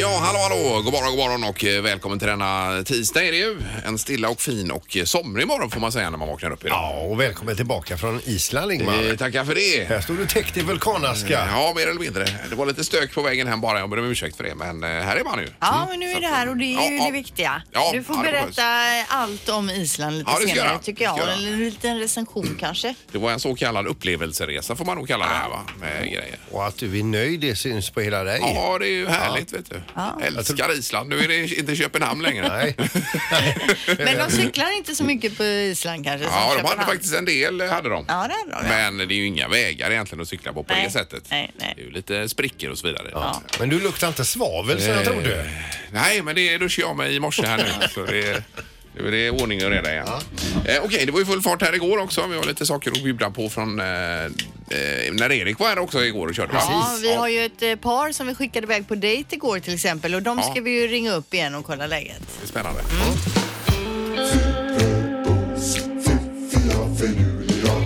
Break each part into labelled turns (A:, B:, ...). A: hallå, god morgon, god morgon och eh, välkommen till denna tisdag är det ju. En stilla och fin och eh, somrig morgon får man säga när man vaknar upp idag.
B: Ja, och välkommen tillbaka från Island Ingmar.
A: Eh, Tackar för det.
B: Här står du täckt i vulkanaska.
A: Ja, mer eller mindre. Det var lite stök på vägen hem bara, jag ber om ursäkt för det. Men eh, här är man ju. Mm.
C: Ja, men nu är det här och det är ju
A: Ja, ja.
C: det viktiga.
A: Ja,
C: du får
A: ja, det var
C: berätta allt om Island lite
A: Ja, det ska
C: senare
A: jag.
C: tycker
A: Det
C: jag.
A: ska jag.
C: Eller en liten recension kanske.
A: Det var en så kallad upplevelseresa får man nog kalla det här va? Med grejer.
B: Och att du är nöjd det syns på hela dig.
A: Ja, det är ju härligt vet du. Älskar Island. Nu är det inte Köpenhamn längre.
B: Nej.
C: Men de cyklar inte så mycket på Island kanske som
A: Ja, de hade
C: Köpenhamn.
A: faktiskt en del, eh, hade de.
C: Ja, det hade de. ja.
A: Men det är ju inga vägar egentligen att cykla på på
C: Nej,
A: det sättet.
C: nej, nej.
A: Det är ju lite sprickor och så vidare.
B: Men du luktar inte svavel som jag
A: Eh.
B: trodde.
A: Nej, men det duschade jag mig i morse här nu. Så det, det, det är ordning och reda igen. Eh, Okej, det var ju full fart här igår också. Vi har lite saker att bjuda på från eh, eh, när Erik var här också igår och körde. va?
C: Ja, vi har ju ett eh, par som vi skickade iväg på dejt igår till exempel och de
A: Ja.
C: ska vi ju ringa upp igen och kolla läget.
A: Det är spännande.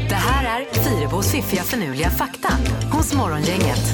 D: Det här är Fyrabos fiffiga förnuliga fakta hos Morgongänget.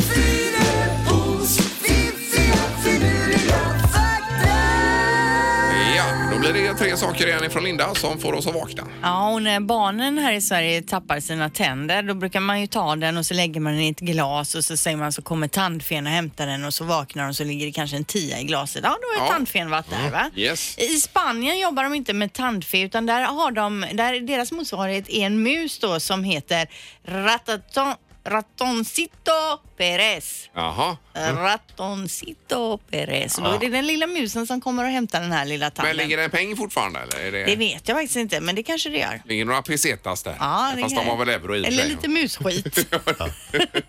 A: Ja, då blir det tre saker igen från Linda som får oss att vakna.
C: Ja, och när barnen här i Sverige tappar sina tänder då brukar man ju ta den och så lägger man den i ett glas och så säger man så kommer tandfen och hämtar den och så vaknar de och så ligger det kanske en tia i glaset. Ja, då är
A: Ja. Mm.
C: tandfen varit där va?
A: Yes.
C: I Spanien jobbar de inte med tandfe utan där har de, där deras motsvarighet är en mus då som heter rataton, Ratoncito Perez.
A: Jaha.
C: Ratoncito Perez. Och Då
A: Mm. Ja.
C: är det den lilla musen som kommer och hämtar den här lilla
A: Men
C: tanden.
A: ligger det en peng fortfarande eller? Är det...
C: Det vet jag faktiskt inte, men det kanske det gör.
A: Ligger några pesetas där?
C: Ja, det
A: Fast
C: kan-
A: de har väl euro i och för
C: Eller
A: sig.
C: lite musskit.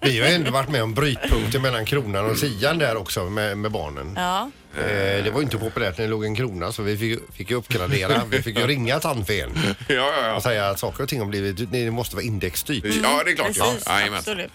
B: Vi har ändå varit med om brytpunkter mellan kronan och tian där också med, med barnen.
C: ja.
B: Eh, det var ju inte populärt när det låg en krona så vi fick, fick ju uppgradera. Vi fick ju ringa tandfen
A: Ja, ja, ja.
B: och säga att saker och ting har blivit, det måste vara indexstyrt.
A: Ja, det är klart.
C: Precis,
A: ja. Jajamän.
C: absolut.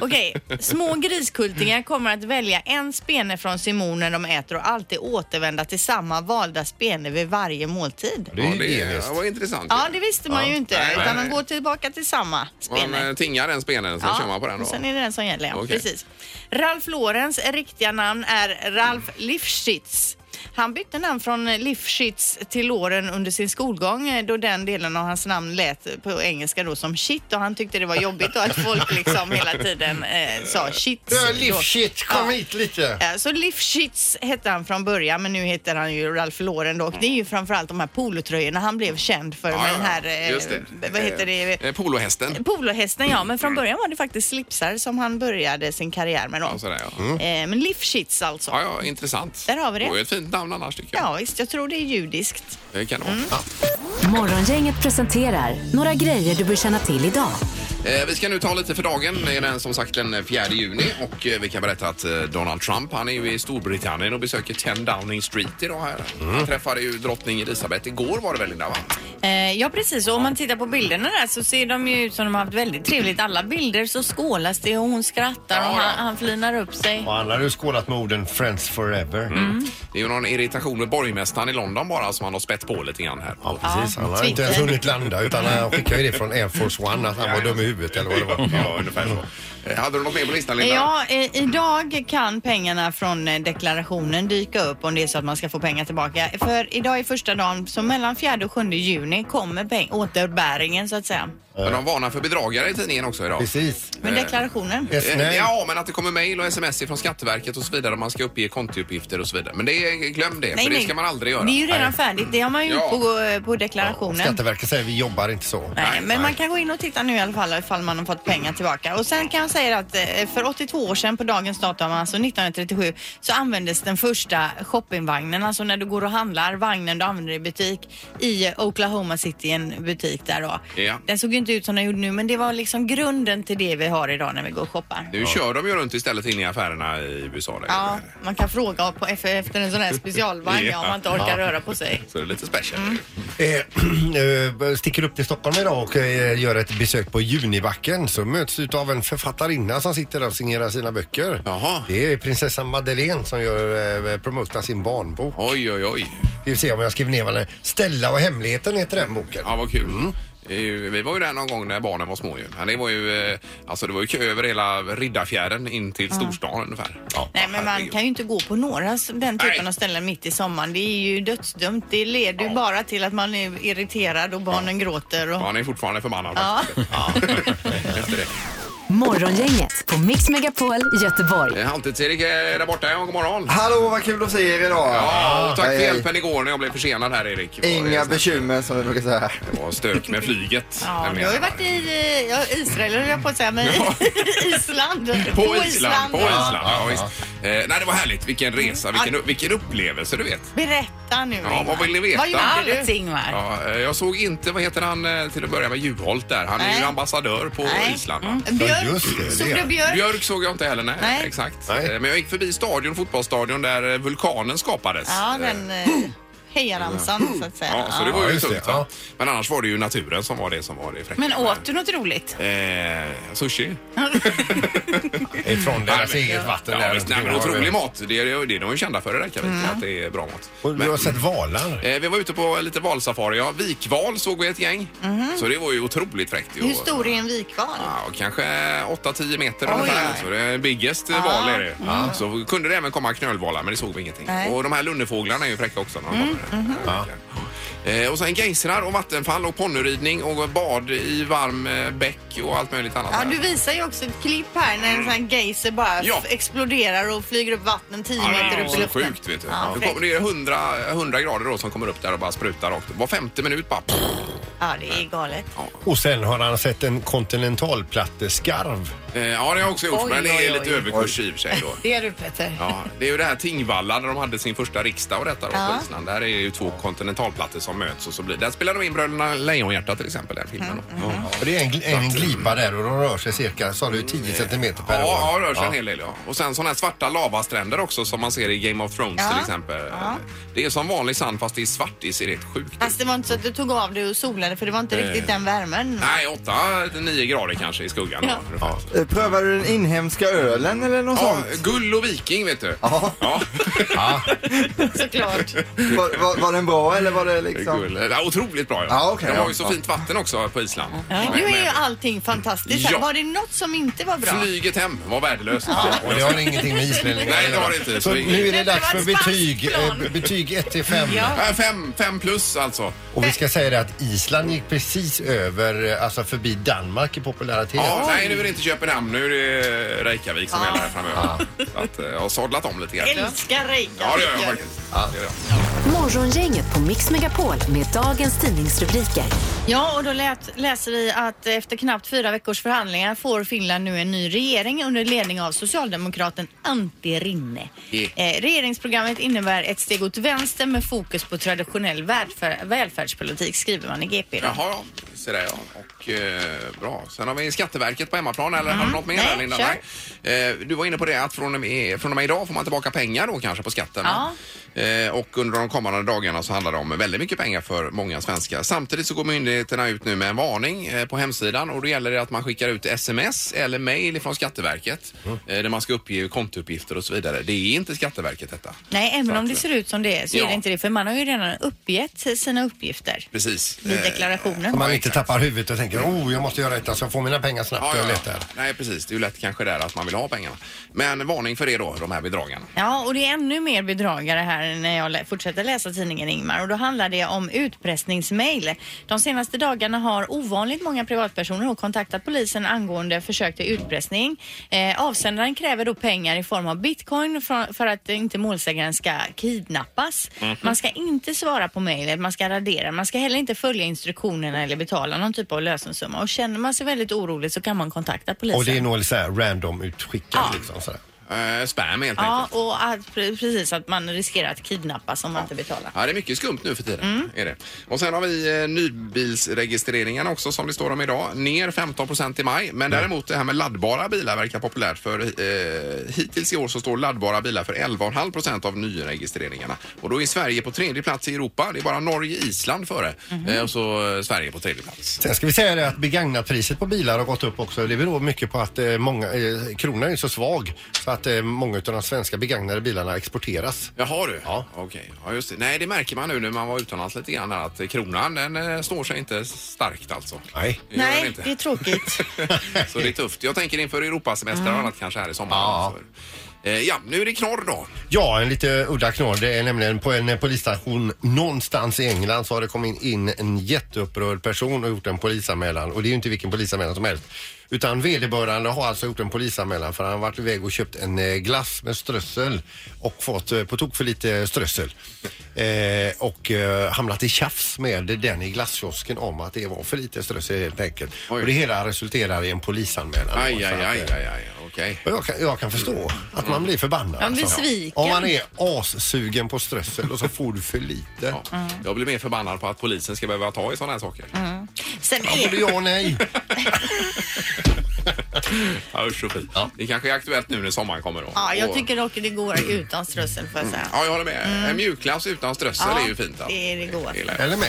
C: Okej, små griskultingar kommer att välja en spene från sin mor när de äter och alltid återvända till samma valda spene vid varje måltid.
B: Det
A: Ja,
B: är ju
A: det
B: geniskt.
A: var intressant.
C: Ja, det visste man ju inte,
A: Nej, nej,
C: utan
A: nej.
C: de går tillbaka till samma
A: Man
C: spene.
A: eh, tingar den spenen, sen kör man på den. Då.
C: och sen är det den som gäller. Ja.
A: Okej.
C: Precis. Ralf Lorenz riktiga namn är Ralf Lifschitz. Han bytte namn från Lifschitz till Loren under sin skolgång eh, då den delen av hans namn lät eh, på engelska då som shit och han tyckte det var jobbigt då att folk liksom hela tiden eh, sa shit.
B: Ja,
C: då.
B: Livshit, kom
C: Ja.
B: hit lite.
C: Eh, Så Lifschitz hette han från början men nu heter han ju Ralph Lauren då. Och det är ju framförallt de här polotröjorna han blev känd för med den här, eh,
A: just
C: b- vad heter det,
A: Eh, Polohästen.
C: Polohästen ja,
A: Mm.
C: men från början var det faktiskt slipsar som han började sin karriär med då.
A: Ja, sådär, ja.
C: Eh, Men livshits alltså.
A: Alltså, mm. Ja, ja, intressant.
C: Där har vi det.
A: Det var ju ett fint namn annars tycker jag.
C: Ja, Mm. visst, jag tror det är judiskt.
A: Det kan det vara.
D: Morgongänget presenterar några grejer du bör känna till idag.
A: Eh, Vi ska nu ta lite för dagen. Det är den som sagt den 4 juni och eh, vi kan berätta att eh, Donald Trump han är ju i Storbritannien och besöker 10 Downing Street idag här. Han träffade ju drottning Elizabeth igår var det väl Linda va?
C: Eh, ja, precis. Och om man tittar på bilderna där så ser de ju ut som de har haft väldigt trevligt. Alla bilder så skålas det och hon skrattar och
A: Ja, ja.
C: han, han flinar upp sig.
B: Och han har ju skålat med orden Friends Forever.
A: Mm. Det är ju någon irritation med borgmästaren i London bara som han har spett på lite grann här.
B: Ja, precis.
C: Ja,
B: han har inte
C: Twitter.
B: ens hunnit landa utan han skickade ju det från Air Force One att han var dum i huvudet eller vad det var.
A: Ja, ungefär så. Eh, Hade du något mer på listan Linda?
C: Ja, eh, idag kan pengarna från eh, deklarationen dyka upp om det är så att man ska få pengar tillbaka. För idag är första dagen, så mellan 4 och 7 juni kommer peng- återbäringen så att säga.
A: Men de varnar för bedragare i tidningen också idag.
B: Precis.
C: Men deklarationen.
B: Yes,
A: Eh,
B: nej.
A: Ja, men att det kommer mejl och sms från Skatteverket och så vidare. Man ska uppge kontouppgifter och så vidare. Men det, glöm det, för det ska man aldrig göra.
C: Det är ju redan färdigt. Det har man ju
A: Ja.
C: gjort på, på deklarationen.
B: Skatteverket säger vi jobbar inte så.
C: Nej,
A: Nej,
C: men
A: nej.
C: man kan gå in och titta nu i alla fall ifall man har fått pengar tillbaka. Och sen kan jag säga att eh, för 82 år sedan på dagens datum, alltså 1937, så användes den första shoppingvagnen, alltså när du går och handlar, vagnen du använder i butik i eh, Oklahoma City, en butik där då.
A: Ja.
C: Den såg ju inte ut som den gjorde nu, men det var liksom grunden till det vi har idag när vi går och shoppar.
A: Nu kör de ju runt istället in i affärerna i USA. där.
C: Ja, man kan fråga på, efter en sån här specialvagn ja, om man inte orkar röra på sig.
A: Så det är lite special.
C: Mm.
B: Eh, eh, sticker upp till Stockholm idag och eh, gör ett besök på Junibacken så möts du av en författarinna som sitter där och signerar sina böcker.
A: Jaha.
B: Det är prinsessan Madeleine som gör, eh, promotar sin barnbok.
A: Oj, oj, oj.
B: Vi får se om jag skriver ner vad den Stella och hemligheten heter den boken.
A: Ja, vad kul. Eh, Vi var ju där någon gång när barnen var små ju. Men det var ju, eh, alltså det var ju kö över hela Riddarfjärden in till storstan ungefär. Ja,
C: Nej, men man
A: herregud.
C: kan ju inte gå på några s- den typen
A: Nej.
C: av ställen mitt i sommaren. Det är ju dödsdömt. Det leder ju bara till att man är irriterad och barnen gråter. Och...
A: Ja, Han är fortfarande förbannad
C: Ja.
A: faktiskt. ja. Efter det.
D: Morgongänget på Mix Megapol Göteborg.
A: Eh, Halvtids-Erik är där borta. Ja, god morgon.
E: Hallå, vad kul att se er idag.
A: Ja, och tack för
E: Hej, hej.
A: hjälpen igår när jag blev försenad här Erik. Det var-
E: Inga bekymmer som vi brukar säga.
A: Det var stök med flyget.
C: Ja, du
A: nämligen.
C: har ju varit i eh, ja, Israel, höll jag på att säga, men Island.
A: På Island, på
C: ja.
A: Island. Ja, visst. Eh, nej, det var härligt. Vilken resa, vilken, vilken upplevelse du vet.
C: Berätta nu.
A: Ja, vad vill ni veta?
C: Vad gjorde du?
F: Allting Ingmar.
A: Ja, eh, jag såg inte, vad heter han eh, till att börja med, Juholt där. Han är
C: Nej.
A: ju ambassadör på
C: Nej. Mm.
A: Island. va?
B: Ja,
C: Björk?
B: just det, det
C: Såg
B: är
C: du
B: det.
C: Björk?
A: Björk såg jag inte heller, nej.
C: Nej.
A: Exakt.
B: Nej.
A: Eh, Men jag gick förbi stadion, fotbollsstadion där eh, vulkanen skapades.
C: Ja,
A: Eh,
C: den eh, hejaramsan så att säga.
A: Ja, så
C: Ja.
A: det var
B: Ja,
A: ju
B: Ah, just det,
A: tungt. va?
B: ja.
A: Men annars var det ju naturen som var det som var det fräcka.
F: Men åt du något roligt?
A: Eh, sushi.
B: Ifrån deras
A: men-
B: eget vatten
A: Ja,
B: där.
A: visst, nej, men otrolig mat. Det är det är de är ju kända för i Reykjavik,
C: Mm.
A: att det är bra mat.
B: Och du har sett valar?
A: Eh, vi var ute på lite valsafari. Ja, vikval såg vi ett gäng. Så det var ju otroligt fräckt.
C: Mhm. Hur stor är en vikval?
A: Ja, och kanske 8-10 meter
C: Oj,
A: ungefär.
C: oj.
A: Så det är biggest eh, val är det. Så kunde det även komma knölvalar men det såg vi ingenting.
C: Nej. Mm, mhm.
A: Och de här lunnefåglarna är ju fräcka också. När de kommer. Ja. Eh, Och sen gejsrar och vattenfall och ponnyridning och bad i varm eh, bäck och allt möjligt annat.
C: Ja,
A: där.
C: du visar ju också ett klipp här när en sån här geyser bara
A: Mm. Ja.
C: f- exploderar och flyger upp vatten 10
A: Ja, det
C: meter
A: är
C: upp i
A: också
C: luften.
A: sjukt vet du.
C: Ja,
A: nu
C: fräckt.
A: kommer det 100, 100 grader då som kommer upp där och bara sprutar rakt upp. Var femte minut bara.
C: Ja, det är galet.
B: Och sen har han sett en kontinentalplatteskarv.
A: Eh, Ja, det har jag också gjort
F: Oj,
A: men det är
F: oj,
A: lite
F: oj.
A: överkurs i och för sig då.
F: Det är du Peter.
A: Ja, det är ju det här Tingvalla där de hade sin första riksdag och detta då, på Island. Där är ju två kontinentalplattor som möts och så blir Där spelar de in Bröderna Lejonhjärta till exempel, den filmen.
C: Mm,
A: då. Ja.
B: Och det är en, en glipa där och de rör sig cirka, sa du, 10 centimeter per
A: Mm. Ja,
B: år.
A: ja, rör sig en hel del. Ja. Och sen sådana här svarta lavastränder också som man ser i Game of Thrones
C: Ja.
A: till exempel. Det är som vanlig sand fast det är svart. Det ser rätt sjukt ut.
C: Fast det var inte så att du tog av dig och solade för det var inte riktigt den värmen.
A: Nej, 8-9 grader kanske i skuggan.
C: Ja.
A: Ja.
E: Eh, Prövar du den inhemska ölen eller något
A: Ja,
E: sånt?
A: gull och viking vet du. Ja.
C: Såklart.
E: Var, var, var den bra eller var det liksom...
A: Gull. Ja, otroligt bra. Ja.
E: Ja, okej,
A: de har
E: ja,
A: ju så
E: ja.
A: fint vatten också på Island.
C: Nu är ju allting fantastiskt. här.
A: Ja.
C: Var det något som inte var bra?
A: Flyget hem var värdelöst.
B: Och det har ingenting med islänningar
A: Nej,
B: att
A: det
B: göra.
A: har det inte.
B: Så
A: Så
B: nu är det
C: Det var
B: dags för
C: ett spanskt
B: betyg. eh,
C: plan.
B: Betyg 1 till 5.
A: Äh, Fem, fem plus alltså.
B: Och vi ska säga det att Island gick precis över, eh, alltså förbi Danmark i popularitet.
A: Ja, nej, nu är det inte Köpenhamn, nu är det Reykjavik som gäller här framöver. Så att, eh, jag har sadlat om lite grann.
C: Älskar Reykjavik.
A: Ja, det gör jag faktiskt. Det gör jag.
D: Morgongänget på Mix Megapol med dagens tidningsrubriker.
C: Ja, och då lät, läser vi att efter knappt fyra veckors förhandlingar får Finland nu en ny regering under ledning av socialdemokraten Antti Rinne.
A: Yeah.
C: Eh, regeringsprogrammet innebär ett steg åt vänster med fokus på traditionell välfär, välfärdspolitik, skriver man i GP. Då.
A: Jaha, ja. Så där, ja. Och, eh, bra. Sen har vi Skatteverket på hemmaplan. Eller har du något mer
C: Mm. Nej,
A: där, Linda?
C: kör.
A: Nej. Eh, du var inne på det att från och, med, från och med idag får man tillbaka pengar då kanske på skatten. va? Eh, och under de kommande dagarna så handlar det om väldigt mycket pengar för många svenskar. Samtidigt så går myndigheterna ut nu med en varning eh, på hemsidan och då gäller det att man skickar ut sms eller mejl från Skatteverket eh, där man ska uppge kontouppgifter och så vidare. Det är inte Skatteverket detta.
C: Nej, även
A: Så
C: om
A: att-
C: det ser ut som det är så
A: Ja.
C: är det inte det. För man har ju redan uppgett sina uppgifter
A: Precis.
C: i
A: Eh,
C: deklarationen.
B: Om man inte tappar huvudet och tänker oh, jag måste göra detta så jag får mina pengar snabbt och lätt här.
A: Nej, precis. Det är ju lätt kanske där att man vill ha pengarna. Men varning för det då, de här bedragarna.
C: Ja, och det är ännu mer bedragare här när jag lä- fortsätter läsa tidningen Ingmar och då handlar det om utpressningsmejl. De senaste dagarna har ovanligt många privatpersoner då kontaktat polisen angående försök till utpressning. Eh, avsändaren kräver då pengar i form av bitcoin för, för att inte målsägaren ska kidnappas.
B: Mhm.
C: Man ska inte svara på mejlet, man ska radera, man ska heller inte följa instruktionerna eller betala någon typ av lösensumma och känner man sig väldigt orolig så kan man kontakta polisen.
B: Och det är nog så här random utskickat liksom. Så här.
A: Eh, spam helt
C: Ja,
A: enkelt.
C: och att, pre- precis att man riskerar att kidnappas om man inte betalar.
A: Ja, det är mycket skumt nu för tiden. Är det. Och sen har vi eh, nybilsregistreringen också som det står om idag. Ner 15 procent i maj. Men däremot det här med laddbara bilar verkar populärt för eh, hittills i år så står laddbara bilar för 11,5 procent av nyregistreringarna. Och då är Sverige på tredje plats i Europa. Det är bara Norge och Island före. Eh, och så eh, Sverige på tredje plats.
B: Sen ska vi säga det att begagnatpriset på bilar har gått upp också. Det beror mycket på att eh, många, eh, kronan är så svag. Så att att eh, många av de svenska begagnade bilarna exporteras.
A: Jaha du.
B: Ja.
A: Okej. Ja, just det. Nej, det märker man nu när man var utomlands lite grann här, att kronan den eh, står sig inte starkt alltså.
B: Nej.
A: Det gör den
C: Nej,
A: inte.
C: det är tråkigt.
A: Så det är tufft. Jag tänker inför Europasemester och annat kanske här i sommar.
B: Ja.
A: Så, eh, ja, nu är det knorr då.
B: Ja, en lite udda knorr. Det är nämligen på en eh, polisstation någonstans i England så har det kommit in en jätteupprörd person och gjort en polisanmälan. Och det är ju inte vilken polisanmälan som helst. Utan vederbörande har alltså gjort en polisanmälan för han har varit iväg och köpt en eh, glass med strössel och fått eh, på tok för lite strössel. Eh, och eh, hamnat i tjafs med den i glasskiosken om att det var för lite strössel helt enkelt.
A: Oj.
B: Och det hela resulterar i en polisanmälan.
A: Aj,
B: Så
A: aj,
B: att, eh,
A: aj, aj, aj. okej.
B: och Jag kan, jag kan förstå att man blir förbannad. alltså.
C: Man blir sviken.
B: Om man är assugen på strössel och så får du för lite.
A: Ja. Jag blir mer förbannad på att polisen ska behöva ta i sådana här saker.
C: Mm. Sen
B: Både
C: är,
B: ja och nej.
A: Ja, usch och fy. Det kanske är aktuellt nu när sommaren kommer då.
C: ja, jag
A: Och-
C: tycker dock det går utan strössel får jag säga.
A: Ja, jag håller med. En mjukglass utan strössel
C: Ja,
A: är ju fint. alltså.
C: det är det godaste.
A: gillar jag.
B: Eller men.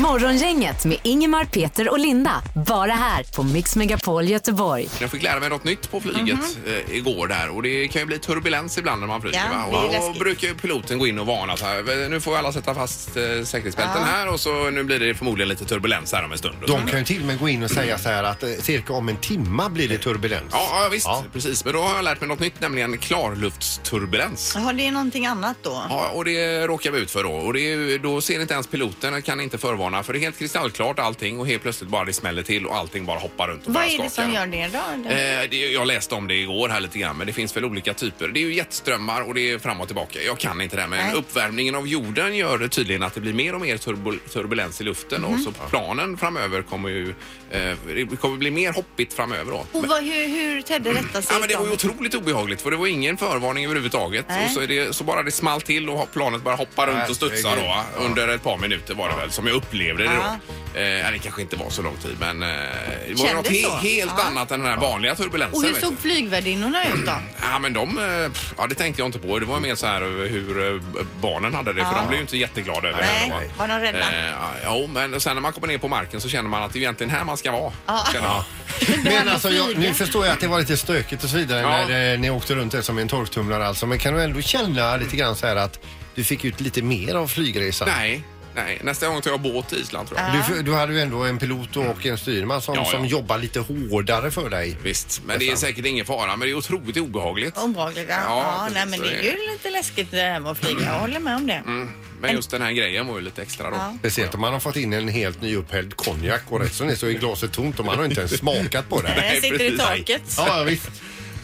D: Morgongänget med Ingemar, Peter och Linda. Bara här på Mix Megapol Göteborg.
A: Jag fick lära mig något nytt på flyget
C: Mhm.
A: eh, igår där och det kan ju bli turbulens ibland när man flyger.
C: Ja, det är
A: va? Och då
C: läskigt.
A: brukar ju piloten gå in och varna så här. Nu får alla sätta fast eh, säkerhetsbälten här och så nu blir det förmodligen lite turbulens här om en stund. Och så
B: De kan ju till och med gå in och säga så här att eh, cirka om en timma blir det turbulens.
A: Ja, ja visst.
B: Ja.
A: Precis. Men då har jag lärt mig något nytt, nämligen klarluftsturbulens.
C: Jaha, det är någonting annat då?
A: Ja, och det råkar vi ut för då. Och det är, ju- då ser inte ens piloten, kan inte förvarna för det är helt kristallklart allting och helt plötsligt bara det smäller till och allting bara hoppar runt och
C: Vad
A: bara
C: är det
A: skakar.
C: som gör det då?
A: Eh, det, jag läste om det igår här lite grann, men det finns väl olika typer. Det är ju jetströmmar och det är fram och tillbaka. Jag kan inte det här, men
C: Nej.
A: uppvärmningen av jorden gör det tydligen att det blir mer och mer turbul- turbulens i luften
C: Mhm.
A: och så planen framöver kommer ju eh, det kommer bli mer hoppigt framöver då.
C: Och vad, hur, hur tedde detta sig?
A: Ja, men det
C: då?
A: var ju otroligt obehagligt för det var ingen förvarning överhuvudtaget.
C: Nej.
A: Och så, är det, så bara det small till och planet bara hoppar runt och studsar då,
B: Herregud.
A: va? under ett par minuter var det väl som jag upplevde det då. Eh, nej, det kanske inte var så lång tid men eh, det var ju
C: Kändes
A: något
C: så?
A: he- helt
C: Ja.
A: annat än den här vanliga turbulensen.
C: Och hur
A: vet du.
C: såg flygvärdinnorna ut då?
A: Ja, men de, eh, pff, ja, det tänkte jag inte på. Det var mer så här eh, hur eh, barnen hade det, för
C: Ja.
A: de blev ju inte jätteglada över
C: Nej,
A: det. va?
C: var de rädda?
A: Eh, jo, men sen när man kommer ner på marken så känner man att det är egentligen här man ska vara.
C: Ja.
A: Känner man.
B: Men
C: med
B: alltså, jag,
C: flyga.
B: nu förstår jag att det var lite stökigt och så vidare
A: Ja.
B: när eh, ni åkte runt där som en torktumlare alltså. Men kan du ändå känna lite grann så här att du fick ut lite mer av flygresan?
A: Nej, nej, nästa gång tar jag båt till Island tror jag.
B: Du, du hade ju ändå en pilot och en styrman som,
A: Ja, ja.
B: som jobbar lite hårdare för dig.
A: Visst, men det är säkert ingen fara, men det är otroligt obehagligt.
C: Obehagliga?
A: Ja,
C: Ja, nej, men
A: precis.
C: det är ju lite läskigt det här med att flyga. Jag håller med om det.
A: Mm, Men just den här grejen var ju lite extra då.
C: Ja.
B: Speciellt om man har fått in en helt nyupphälld konjak och rätt som det är så är glaset tomt och man har inte ens smakat på det.
C: Den Eh, sitter i
A: precis.
C: taket.
B: Ja, visst.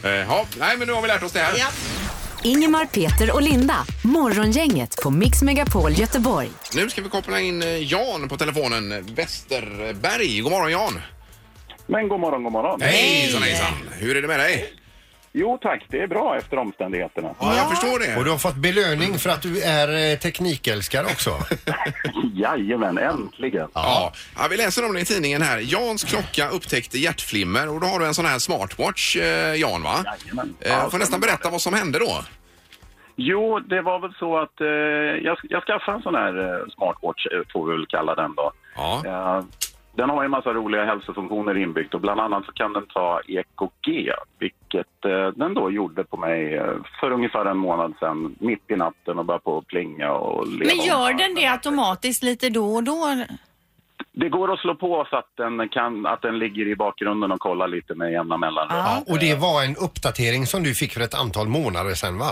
A: Eh, ja, nej men nu har vi lärt oss det här.
C: Ja.
D: Ingemar, Peter och Linda. Morgongänget på Mix Megapol Göteborg.
A: Nu ska vi koppla in eh, Jan på telefonen, Västerberg. God morgon Jan!
F: Men god morgon, god morgon.
A: Hejsan hejsan! Hur är det med dig?
F: Jo tack, det är bra efter omständigheterna.
A: Ja, jag förstår det.
B: Och du har fått belöning för att du är eh, teknikälskare också.
F: Jajamän, äntligen.
A: Ja. ja, vi läser om det i tidningen här. Jans klocka upptäckte hjärtflimmer och då har du en sån här smartwatch, eh, Jan va?
F: Jajamän.
A: Eh, får nästan berätta vad som hände då.
F: Jo, det var väl så att eh, jag, jag skaffade en sån här eh, smartwatch, eh, får vi väl kalla den då.
A: Ja.
F: Eh, den har ju en massa roliga hälsofunktioner inbyggt och bland annat så kan den ta EKG, vilket eh, den då gjorde på mig eh, för ungefär en månad sedan, mitt i natten och bara på att plinga och leva.
C: Men gör
F: om.
C: den det automatiskt lite då och då?
F: Det går att slå på så att den, kan, att den ligger i bakgrunden och kollar lite med jämna mellanrum.
B: Ja, och det var en uppdatering som du fick för ett antal månader sedan va?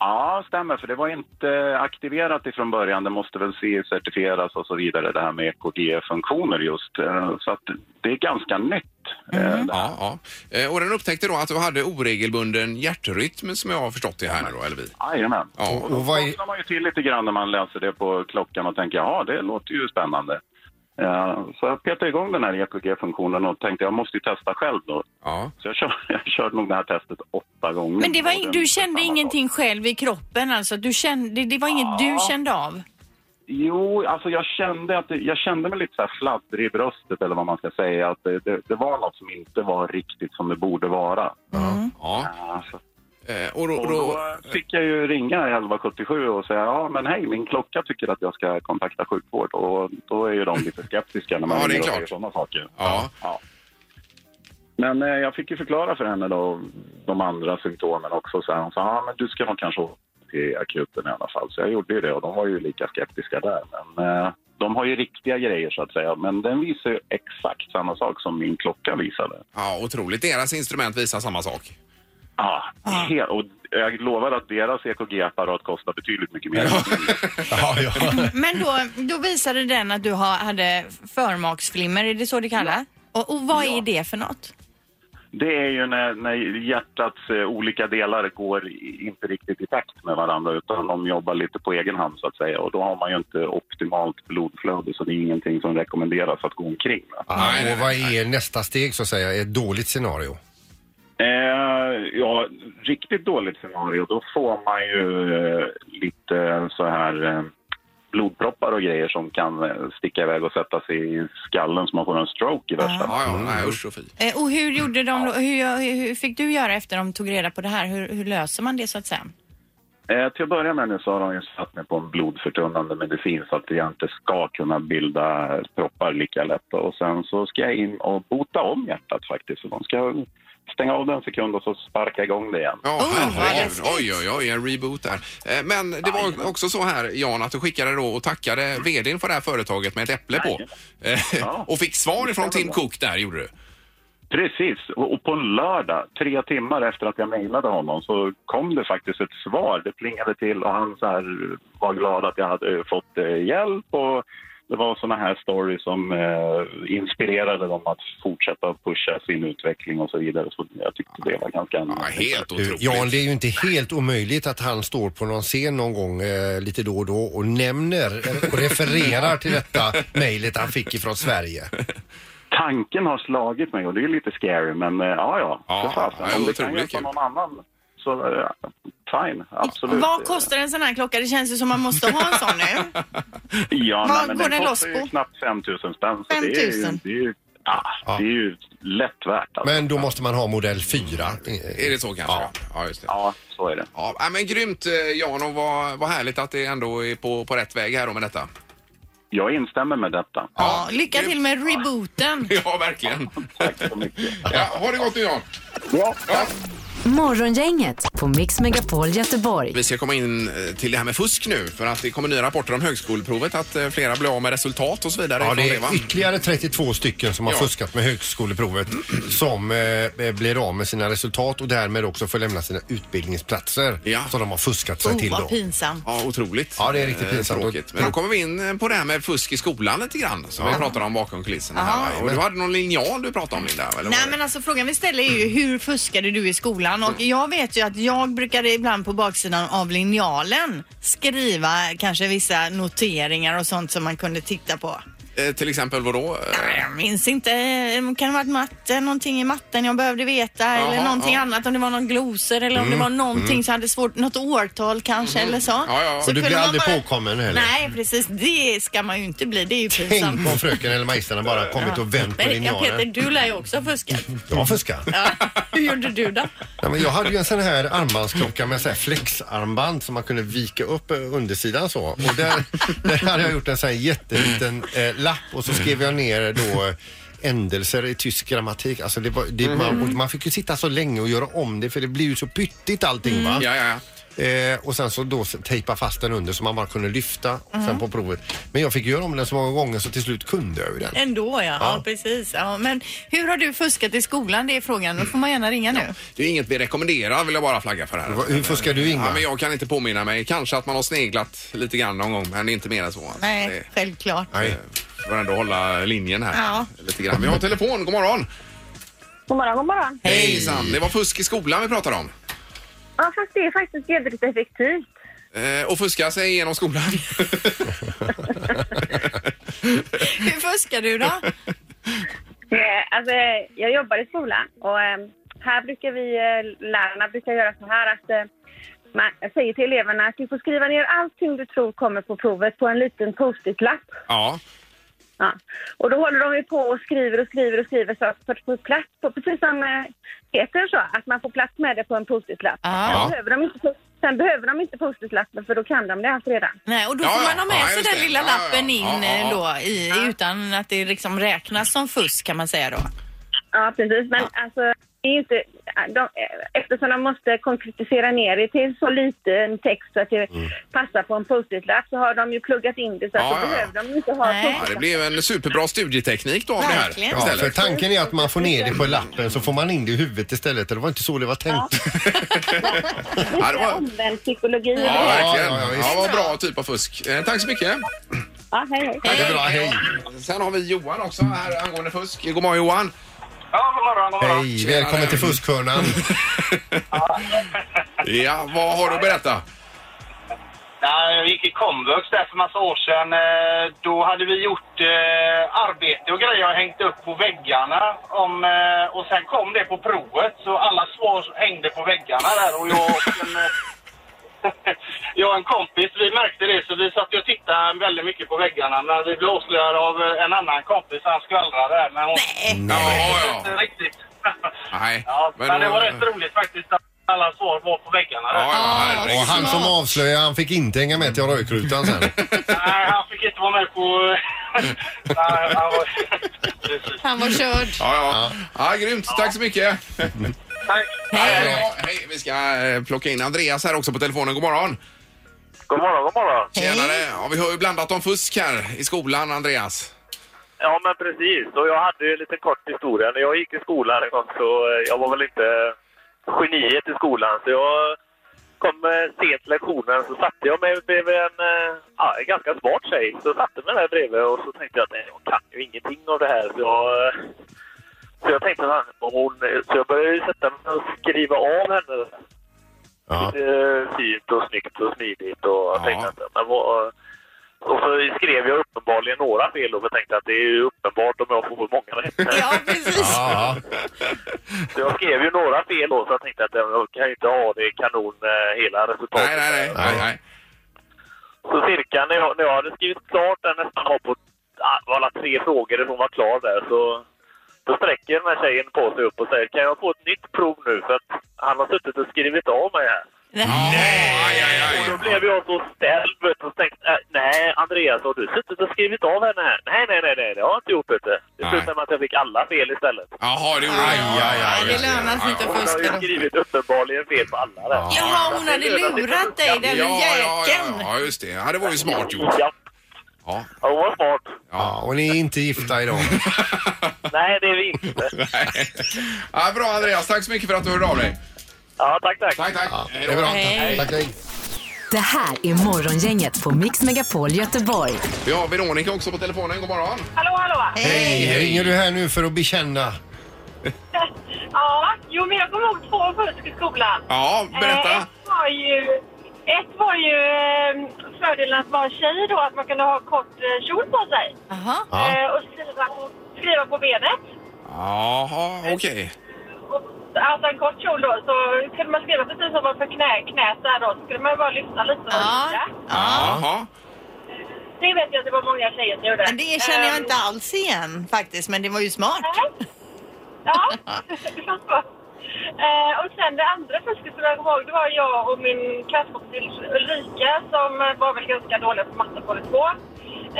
F: Ja, stämmer. För det var inte aktiverat ifrån början. Det måste väl certifieras och så vidare, det här med EKG-funktioner just. Eh, Så att det är ganska nytt. eh,
C: Mm.
F: det här.
A: Ja, ja. Eh, Och den upptäckte då att du hade oregelbunden hjärtrytm som jag har förstått det här nu då, eller vi.
F: Jajamän.
A: Ja.
F: Och Då
B: Och vad är-
F: vaknar man ju till lite grann när man läser det på klockan och tänker ja, det låter ju spännande. Eh, Så jag petade igång den här EKG-funktionen och tänkte jag måste ju testa själv då.
A: Ja.
F: Så jag körde, jag körde nog det här testet åtta gånger.
C: Men det var,
F: Och
C: in-
F: den-
C: du kände
F: samma sak.
C: ingenting själv i kroppen alltså? Du kände, det var inget du kände av?
F: Jo, alltså jag kände, att det, jag kände mig lite så här fladdrig i bröstet eller vad man ska säga. Att det, det, det var något som inte var riktigt som det borde vara.
A: ja.
F: Alltså,
A: Eh, Och då,
F: och då
A: då,
F: fick jag ju ringa 1177 och säga ja men hej min klocka tycker att jag ska kontakta sjukvård och då är ju de lite skeptiska när man
A: Ja, det är
F: ringer och
A: klart.
F: säger sådana saker.
A: Ja.
F: Ja. Men eh, jag fick ju förklara för henne då, de andra symptomen också. Så här, hon sa ah, men du ska nog kanske åka till akuten i alla fall. Så jag gjorde ju det och de var ju lika skeptiska där. Men eh, de har ju riktiga grejer så att säga. Men den visar ju exakt samma sak som min klocka visade.
A: Ja, otroligt. Deras instrument visar samma sak.
F: Ja, Ah, he- och jag lovar att deras EKG-apparat kostar betydligt mycket mer.
B: Ja, ja.
C: Men då, då visade den att du har, hade förmaksflimmer, är det så det kallas? Och, och vad är det för något?
F: Det är ju när, när hjärtats eh, olika delar går i- inte riktigt i takt med varandra utan de jobbar lite på egen hand så att säga och då har man ju inte optimalt blodflöde så det är ingenting som rekommenderas att gå omkring med.
A: Nej, nej,
B: och vad är nästa steg så att säga? Ett dåligt scenario?
F: Eh, ja, riktigt dåligt scenario då får man ju eh, lite så här eh, blodproppar och grejer som kan eh, sticka iväg och sätta sig i skallen så man får en stroke i värsta fall.
A: Ja, ja, nej, usch och fy.
C: Eh, Och hur gjorde de då? Hur, hur, hur fick du göra efter de tog reda på det här? Hur, hur löser man det så att säga?
F: Eh, till att börja med nu så har de ju satt mig på en blodförtunnande medicin så att jag inte ska kunna bilda proppar lika lätt. Och sen så ska jag in och bota om hjärtat faktiskt. Så de ska stänga av den en sekund och så sparka igång det igen.
A: Ja,
C: Oh, vad
A: herregud.
C: läskigt.
A: Oj, oj, oj, en reboot där. Eh, Men det var också så här, Jan, att du skickade då och tackade vdn för det här företaget med ett äpple på. Eh,
F: Ja.
A: Och fick svar ifrån Tim Cook där, gjorde du.
F: Precis, och och på en lördag, tre timmar efter att jag mejlade honom, så kom det faktiskt ett svar. Det plingade till och han så här var glad att jag hade eh, fått eh, hjälp. Och det var såna här stories som eh, inspirerade dem att fortsätta pusha sin utveckling och så vidare. Så jag tyckte det var ganska
A: Ja, helt
B: Du, Eh, Jan,
A: otroligt.
B: det är ju inte helt omöjligt att han står på någon scen någon gång eh, lite då och då och nämner eh, och refererar till detta mejlet han fick ifrån Sverige.
F: Tanken har slagit mig och det är lite scary, men eh, ja, ja.
A: Ja,
F: för fasen.
A: ja,
F: Om det kan
A: otroligt
F: hjälpa
A: kul.
F: någon annan så eh, fine, absolut.
C: Vad kostar en sån här klocka? Det känns ju som man måste ha en sån nu.
F: Ja,
C: Vad
F: nej, men
C: går
F: den
C: den
F: kostar
C: loss på?
F: ju knappt 5 000 spänn. Så
C: 5 000.
F: Det är ju, det är ju, ah, det är ju lätt värt. Alltså.
B: Men då måste man ha modell 4. eh,
A: Är det så kanske? Ja, just det.
F: Ja, så är det.
A: Ja, nej, men grymt eh, Jan och vad, vad härligt att det ändå är på, på rätt väg här då med detta.
F: Jag instämmer med detta.
C: Ja, lycka till med rebooten.
A: Ja, verkligen.
F: Tack så mycket.
A: Ja, ha det gott nu Jan.
F: Ja,
D: Morgongänget på Mix Megapol Göteborg.
A: Vi ska komma in eh, till det här med fusk nu för att det kommer nya rapporter om högskoleprovet att eh, flera blir av med resultat och så vidare.
B: Ja,
A: ifrån
B: det
A: va?
B: är ytterligare 32 stycken som har
A: Ja.
B: fuskat med högskoleprovet som eh, blir av med sina resultat och därmed också får lämna sina utbildningsplatser
A: Ja.
B: som de har fuskat sig
C: Oh,
B: till. Då.
C: vad pinsamt.
A: Ja, otroligt.
B: Ja, det är riktigt
A: Eh,
B: pinsamt.
A: Tråkigt. Men då kommer vi in eh, på det här med fusk i skolan lite grann som vi pratade om bakom kulisserna. Här, va? och du hade någon linjal du pratade om Linda? Eller var
C: Nej
A: det-
C: men alltså frågan vi ställer är ju hur fuskade du i skolan? Och jag vet ju att jag brukade ibland på baksidan av linjalen skriva kanske vissa noteringar och sånt som man kunde titta på.
A: Eh, till exempel vadå? Eh,
C: Nej, Jag minns inte, eh, det kan ha varit matte, någonting i matten jag behövde veta eller någonting
A: ja.
C: annat om det var någon glosor eller om
B: Mm,
C: det var någonting som hade svårt, något årtal kanske eller så.
A: Ja, ja.
C: så
B: Och du
C: kunde
B: blir
C: man
B: aldrig påkommen heller?
C: Nej precis, det ska man ju inte bli, det är ju pinsamt.
B: Tänk om fröken eller magistrarna bara kommit och vänt på
C: Men ja, Peter,
B: linjalen.
C: du lär ju också ha fuskat.
B: Jag har fuskat.
C: Ja. Hur gjorde du då?
B: Ja, men jag hade ju en sån här armbandsklocka med så här flexarmband som man kunde vika upp eh, undersidan så. Och där, där hade jag gjort en sån här jätteliten eh, lapp och så skrev jag ner då eh, ändelser i tysk grammatik. Alltså det var, det, man, och man fick ju sitta så länge och göra om det för det blir ju så pyttigt allting va.
A: Mm, Ja, ja, ja.
B: Eh, och sen så då s- tejpa fast den under så man bara kunde lyfta sen på provet. Men jag fick göra om den så många gånger så till slut kunde jag ju den.
C: Ändå ja, ja precis. Ja, men hur har du fuskat i skolan? Det är frågan. Då får man gärna ringa nu.
A: Det är inget vi rekommenderar vill jag bara flagga för här.
B: Va- Hur fuskar du
A: Ja,
B: Ingmar?
A: men jag kan inte påminna mig. Kanske att man har sneglat lite grann någon gång, men inte mer än så. Alltså,
C: Nej, självklart.
A: Det, eh,
B: Nej.
A: får ändå hålla linjen här.
C: Ja.
A: Lite grann. Vi har telefon, god morgon!
G: God morgon, god morgon.
A: Hejsan! Det var fusk i skolan vi pratade om.
G: Ja, fast det är faktiskt jävligt effektivt.
A: Eh, och fuska sig genom skolan.
C: Hur fuskar du då?
G: Eh, Alltså, eh, jag jobbar i skolan och eh, här brukar vi, eh, lärarna brukar göra så här att eh, man säger till eleverna att du får skriva ner allting du tror kommer på provet på en liten post-it-lapp.
A: ja.
G: Ja. Och då håller de ju på och skriver och skriver och skriver så att man får plats på, precis som eh, Peter sa, att man får plats med det på en post-it-lapp.
C: Ja.
G: Sen behöver de inte- Sen behöver de inte post-it-lappen för då kan de det allt redan.
C: Nej, och då
A: Ja,
C: får
A: ja.
C: man ha
A: Ja,
C: med sig
A: just
C: den
A: det.
C: lilla
A: Ja, ja, ja.
C: lappen in
A: Ja, ja,
C: eh,
A: ja.
C: då i, utan att det liksom räknas som fusk kan man säga då.
G: Ja, Ja, precis. Men alltså, det är ju inte, de, eftersom de måste konkretisera ner det till så liten text så att det passar på en post-it-lapp så har de ju pluggat in det så att
A: Mm. Ja,
G: då
A: ja.
G: behöver de ju inte ha
C: Nej.
A: Ja,
G: text.
A: det blev en superbra studieteknik då av det här.
C: Verkligen.
B: Ja,
A: istället.
B: för tanken är att man får ner det på lappen så får man in det i huvudet istället. Det var inte så det var tänkt.
G: Det
A: Ja,
G: är
A: det var-
G: omvänd psykologi.
A: Ja,
G: eller-
A: verkligen.
B: Ja, ja,
A: Ja,
B: visst.
A: vad bra typ av fusk. Eh, tack så mycket.
G: Ja, hej, hej.
B: Det är bra, hej.
A: Sen har vi Johan också här angående fusk. God morgon Johan.
H: Ja, god morgon, god morgon.
B: Hej, välkommen till Fuskhörnan.
A: Ja, vad har du att berätta?
H: Nej, jag gick i komvux där för massa år sedan. Eh, Då hade vi gjort eh, arbete och grejer och hängt upp på väggarna. Om, eh, och sen kom det på provet så alla svar hängde på väggarna där och jag och en, eh, jag och en kompis vi märkte det så vi satt och tittade väldigt mycket på väggarna. Men vi blev avslöjade av eh, en annan kompis, han skvallrade där. Men hon
A: Ja,
H: inte
A: ja.
H: riktigt.
A: Nej.
H: ja, men, det
A: då-
H: var rätt roligt faktiskt att alla svar var på väggarna där.
A: Ja, ja,
B: Och
A: herregud.
B: han som avslöjade, han fick inte hänga med till rökrutan sen.
H: Nej,
G: Ah,
H: han fick inte vara med
G: euh,
H: på... Nej, han var... Precis.
C: Han var körd.
A: Ja, ja. ja, grymt. Tack så mycket.
H: Tack.
A: Hej. Ja, hej. Vi ska eh, plocka in Andreas här också på telefonen. God morgon.
H: God morgon, god morgon.
A: Tjenare. Ja, vi har ju blandat om fusk här i skolan, Andreas.
H: Ja, men precis. Och jag hade ju en liten kort historia. När jag gick i skolan en gång så eh, jag var väl inte geniet i skolan. Så jag kom eh, sent till lektionen så satte jag mig bredvid en, eh, ja, en ganska smart tjej. Så satte mig där bredvid och så tänkte jag att nej, jag kan ju ingenting av det här. Så jag, eh, så jag tänkte att hon... Så jag började ju sätta mig och skriva av henne
B: Ja.
H: eh, fint och snyggt och smidigt och
A: Ja.
H: jag tänkte att men vad, och så skrev jag uppenbarligen några fel och jag tänkte att det är ju uppenbart om jag får många rätt.
C: Ja, precis.
B: Ja,
H: Så jag skrev ju några fel då så jag tänkte att jag kan ju inte ha det kanon eh, hela resultatet.
A: Nej, nej, nej. nej, nej.
H: Så cirka när jag, när jag hade skrivit klart den nästan var på ah, var alla tre frågor där hon var klar där så då sträcker den här tjejen på sig upp och säger kan jag få ett nytt prov nu för att han har suttit och skrivit av mig här.
A: Ja, aj, aj,
H: Och då
A: aj.
H: blev jag så ställd vet du, och tänkte, äh, nej Andreas har du suttit och skrivit av henne här? Nej, nej, nej, nej, det har jag inte gjort vet du. Det
A: Nej.
H: slutade med att jag fick alla fel istället.
A: Jaha, det gjorde du. Ja, ja, ja,
C: Ja, det lönar sig inte
A: ja,
C: att
A: ja.
H: Hon har ju
C: fuska. då.
H: skrivit uppenbarligen fel på alla där.
C: Jaha, hon hade lurat dig, den
A: Ja, ja, ja,
C: jäkeln.
A: ja, just det. Ja, det var ju smart gjort.
H: Ja,
A: Ja.
H: hon var smart.
B: ja, och ni är inte gifta idag.
H: Nej, det är vi inte.
A: Nej. Ja, bra Andreas, tack så mycket för att du hörde av dig.
H: Ja, tack, tack.
A: Tack, tack.
B: Det är bra. Tack, hej.
D: Det här är Morgongänget på Mix Megapol Göteborg.
A: Vi har Veronica också på telefonen. God morgon.
G: Hallå, hallå!
B: Hej, ringer du här nu för att bekänna?
G: Ja, jo men jag kommer ihåg två fusk i skolan.
A: Ja,
G: Eh,
A: berätta.
G: Ett var ju, ett var ju eh, fördelen att vara tjej då, att man kunde ha kort eh, kjol på sig
C: Jaha.
B: Ja.
G: eh, och skriva, skriva på benet.
A: Jaha, okej.
G: Och, alltså en kort kjol då, så kunde man skriva precis som man för knä, knät där då, så skulle man ju bara lyfta lite. och
C: Ja.
G: lyfta.
C: Ja.
A: Jaha.
G: Det vet jag att det var många tjejer som gjorde.
C: Men Det känner jag
G: Ehm,
C: inte alls igen faktiskt, men det var ju smart.
G: Nej. Ja, det fanns bra. Eh, och sen det andra fusket som jag kommer ihåg, det var jag och min klasskompis Ulrika som eh, var väl ganska dåliga på matte båda två.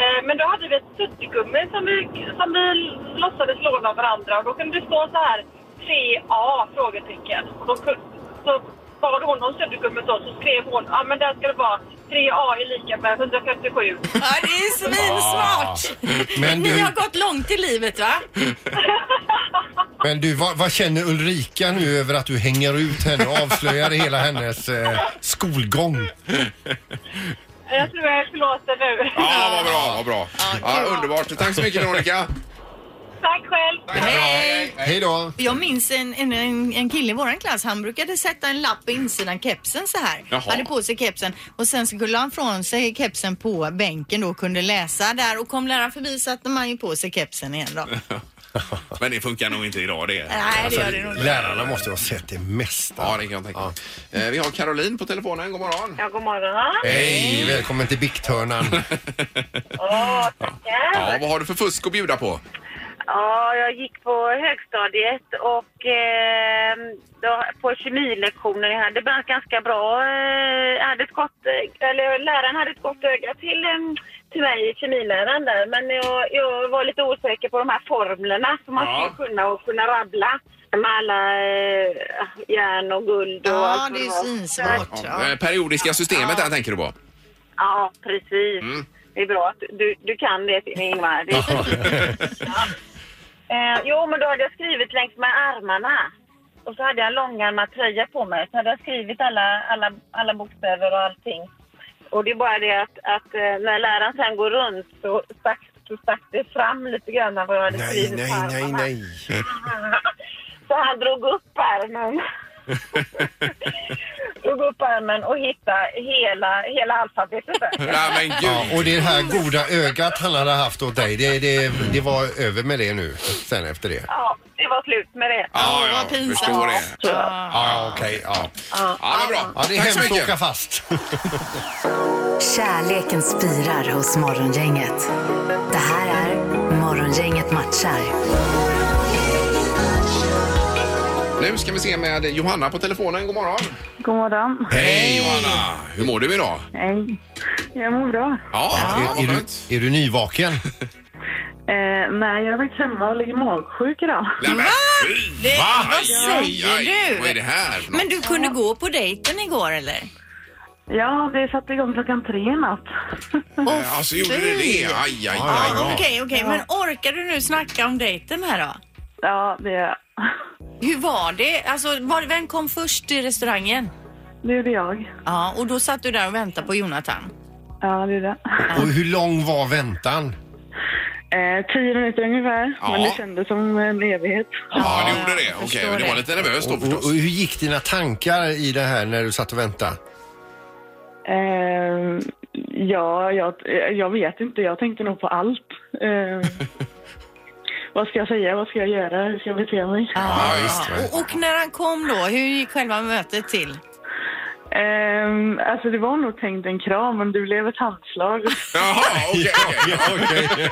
G: Eh, men då hade vi ett suddgummi som vi, som vi låtsades låna av varandra och då kunde det stå så här 3A? frågetecken. Och då kunde, så bad hon om suddgummit då så skrev hon ja ah, men där ska det vara 3A är lika med 157.
C: Ja, det är svinsmart.
B: Men
C: Ni
B: du,
C: har gått långt i livet, va?
B: men du vad, vad känner Ulrika nu över att du hänger ut henne och avslöjar hela hennes eh, skolgång?
G: Eh, Jag tror jag förlåter nu.
A: Ja, vad bra, vad bra. Ja,
C: kul.
A: underbart. Tack så mycket Veronica.
G: Tack själv!
C: Hej!
B: Hej då!
C: Jag minns en, en, en- en kille i våran klass, han brukade sätta en lapp på insidan kepsen så här.
A: Jaha.
C: Hade på sig kepsen och sen skulle han från sig kepsen på bänken då och kunde läsa där och kom läraren förbi satte man ju på sig kepsen igen då.
A: Men det funkar nog inte idag det.
C: Nej, det gör det nog inte.
B: Lärarna måste ha sett det mesta.
A: Ja, det kan jag tänka mig. Eh, Vi har Caroline på telefonen. God morgon.
G: Ja, god morgon.
B: Hej, välkommen till Bikthörnan.
G: Åh, tackar.
A: Ja, vad har du för fusk att bjuda på?
G: Ja, jag gick på högstadiet och eh, då, på kemilektioner. Jag hade bland annat ganska bra... Eh, jag hade ett gott, eh, eller läraren hade ett gott öga till, eh, till mig, kemiläraren där. Men jag, jag var lite osäker på de här formlerna som man
A: Ja.
G: skulle kunna och kunna rabbla. Med alla eh, järn och guld och
C: Ja,
G: allt
C: det är ju
G: vad var.
C: svinsmart. Ja.
A: Eh, Periodiska systemet där tänker du på.
G: Ja, precis.
B: Mm.
G: Det är bra att du, du kan det, Ingvar. Det är Eh, jo, men då hade jag skrivit längs med armarna. Och så hade jag en långärmad tröja på mig. Så hade jag skrivit alla, alla, alla bokstäver och allting. Och det är bara det att, att eh, när läraren sen går runt så stack, så stack det fram lite grann vad jag hade
B: Nej,
G: skrivit
B: nej,
G: på armarna.
B: nej, nej.
G: Så han drog upp armen. drog upp armen och hittade hela, hela alfabetet där.
A: Nej men
B: Ja,
A: gud.
B: och det här goda ögat han hade haft åt dig, det, det, det var över med det nu sen efter det.
G: Ja, det var slut med det.
A: Ja,
C: Åh, vad
A: jag
C: pinsamt.
A: förstår det.
G: Ah.
C: Ja.
B: Ja, okej. ja.
A: Ja, men bra.
B: ja, det är
A: Tack så
B: hemskt att åka
A: mycket.
B: fast.
D: Kärleken spirar hos Morgongänget. Det här är Morgongänget matchar.
A: Nu ska vi se med Johanna på telefonen. God morgon.
G: God morgon.
A: Hej Johanna! Hur mår du idag?
G: Hej. Jag mår bra.
A: Ja,
B: Är, är,
A: vad
B: du,
A: skönt.
B: är du nyvaken?
G: Eh, nej, jag har varit hemma och ligger magsjuk idag.
A: Nej, men
C: Va?
A: fy!
C: Det-
A: Va?
C: vad
A: Aj,
C: säger
A: aj,
C: du?
A: Vad är det här för något?
C: Men du kunde gå på dejten igår eller?
G: Ja, det satte igång klockan tre i natt.
A: Eh, Alltså, gjorde du det? Aj, aj, aj.
C: Ja, Okej, okej, men orkar du nu snacka om dejten här då?
G: ja, det gör jag.
C: Hur var det? Alltså, var, vem kom först i restaurangen?
G: Det gjorde jag.
C: Ja, och då satt du där och väntade på Jonathan.
G: Ja, det gjorde jag.
B: Och hur lång var väntan?
G: Eh, tio minuter ungefär,
A: Ja.
G: men det kändes som en evighet.
A: Ja, det gjorde det.
C: jag
A: Okej,
C: förstår
A: och det var
C: det.
A: lite nervöst då
B: Och, och, och
A: förstås.
B: hur gick dina tankar i det här när du satt och väntade?
G: Eh, ja, jag, jag vet inte. Jag tänkte nog på allt. Eh, vad ska jag säga? Vad ska jag göra? Hur ska jag bete mig?
A: Ja, visst.
C: Ja, och, och när han kom då, hur gick själva mötet till?
G: Ehm, alltså det var nog tänkt en kram, men det blev ett handslag.
A: Jaha, okej. okej.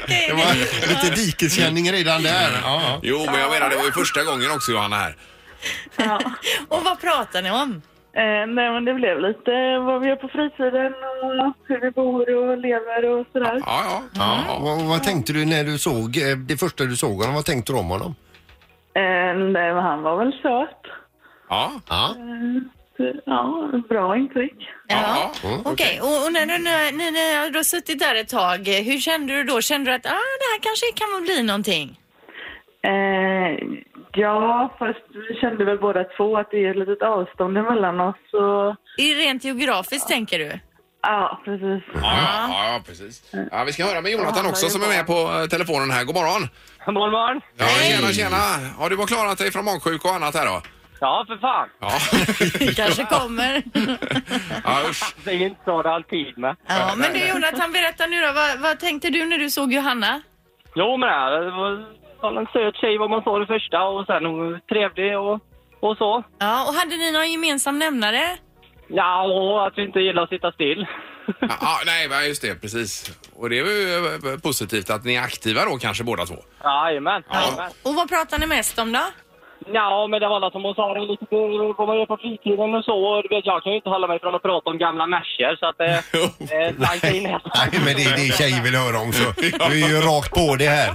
C: Okej,
B: Det var lite dikeskänning redan där. Ja.
A: Jo, men jag menar, det var ju första gången också Johanna här.
G: ja.
C: och vad pratar ni om?
G: Ehm, nej, men det blev lite vad vi gör på fritiden och hur vi bor och lever och sådär.
A: Ja, ja. ja,
C: Mm.
A: ja.
B: Vad, vad tänkte du när du såg, eh, det första du såg honom, vad tänkte du om honom?
G: Ehm, nej, men han var väl söt.
A: ja.
B: Ja.
G: Ja, bra intryck.
A: Ja,
C: Okej, och, och när du när, när, när du har suttit där ett tag, hur kände du då? Kände du att ah, det här kanske kan nog bli någonting?
G: Ehm, ja, fast vi kände väl båda två att det är ett litet avstånd emellan oss. Och,
C: I rent geografiskt tänker du?
G: ja, precis.
A: Ja, ja, ja, precis. Ja, vi ska höra med Jonathan också som är med på eh, telefonen här. God morgon!
I: Morgon, morgon.
A: Ja, tjena, tjena! Har du har klarat dig från magsjuka och annat här då?
I: Ja, för fan.
A: Ja,
C: Det kanske kommer.
A: ja usch.
I: Det är inte så det alltid med.
C: Ja, men du Jonathan, berätta nu då. Vad, vad tänkte du när du såg Johanna?
I: Jo, men det här, det var var en söt tjej vad man sa det första och sen hon var trevlig och, och så.
C: Ja, och hade ni någon gemensam nämnare?
I: Ja, och att vi inte gillar att sitta still.
A: Ja, ja, nej, men just det, precis. Och det är ju eh, positivt att ni är aktiva då kanske båda två.
I: Jajamän.
A: Ja.
I: Ja.
C: Och vad pratar ni mest om då?
I: ja, men det var alla som hon sa, det är lite på- vad man gör på fritiden och så. Och du vet, jag kan ju inte hålla mig från att prata om gamla Mercer så att eh, eh, tanka in det.
B: Nej, men det är det tjejer vill höra om så du är ju rakt på det här.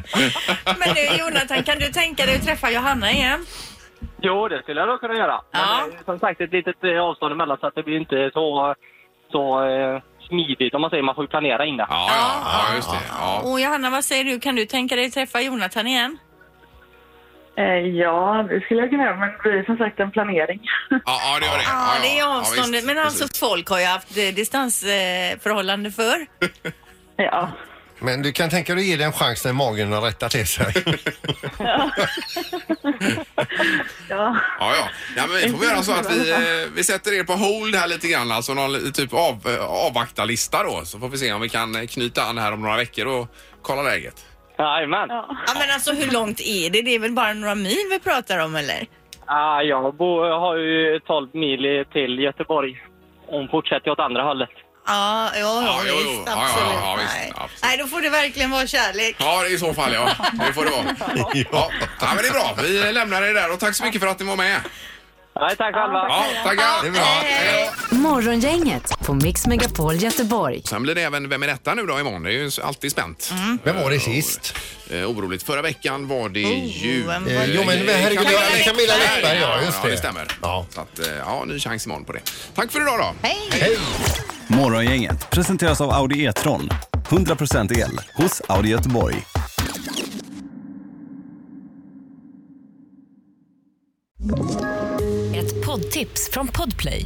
C: Men du Jonathan, kan du tänka dig att träffa Johanna igen?
I: Jo, det skulle jag nog kunna göra. Men
C: Ja.
I: det är ju som sagt ett litet eh, avstånd emellan så att det blir inte så, så eh, smidigt om man säger. Man får ju planera in det.
A: Ja, ja, ja just det. Ja.
C: Och Johanna, vad säger du? Kan du tänka dig träffa Jonathan igen?
G: Ehm, ja, det skulle jag kunna göra, men det blir som sagt en planering.
A: Ja, ja, det var det.
C: Ja, det är
A: Ja,
C: avståndet.
A: visst,
C: Men alltså
A: precis.
C: folk har ju haft eh, distansförhållande förr.
G: ja.
B: Men du kan tänka dig att ge det en chans när magen har rättat till sig.
G: ja.
A: Ja, ja. ja men vi får väl göra så att vi, eh, vi sätter er på hold här lite grann, alltså någon li- typ av, eh, avvaktarlista då, så får vi se om vi kan eh, knyta an här om några veckor och kolla läget.
I: Jajamän.
C: Ja, men alltså hur långt är det? Det är väl bara några mil vi pratar om eller?
I: Ja, jag bo, har ju 12 mil till Göteborg. Hon fortsätter åt andra hållet.
C: Ja, ja, ja,
A: Ja, jo, jo.
C: visst,
A: Ja, ja,
C: absolut.
A: ja, visst,
C: Nej.
A: absolut.
C: Nej, då får det verkligen vara kärlek.
A: Ja, i så fall ja. Det får det vara. Ja. ja, men det är bra. Vi eh, lämnar dig där och tack så mycket för att ni var med.
I: Nej, tack själva.
A: Ja, tackar.
B: Det är bra.
A: Hej.
D: Morgongänget på Mix Megapol Göteborg.
A: Sen blir det även Vem är detta nu då imorgon? Det är ju alltid spänt.
B: Vem var det sist?
A: Eh, oroligt. Förra veckan var det
C: Oh,
A: ju...
C: vem
B: Eh, jo, men herregud, det var Camilla Läckberg, ja, just
A: Ja,
B: det.
A: det stämmer.
B: Ja.
A: Så att, eh, ja, ny chans imorgon på det. Tack för idag då.
C: Hej!
J: Morgongänget presenteras av Audi E-tron. 100% el hos Audi Göteborg.
K: Ett poddtips från Podplay.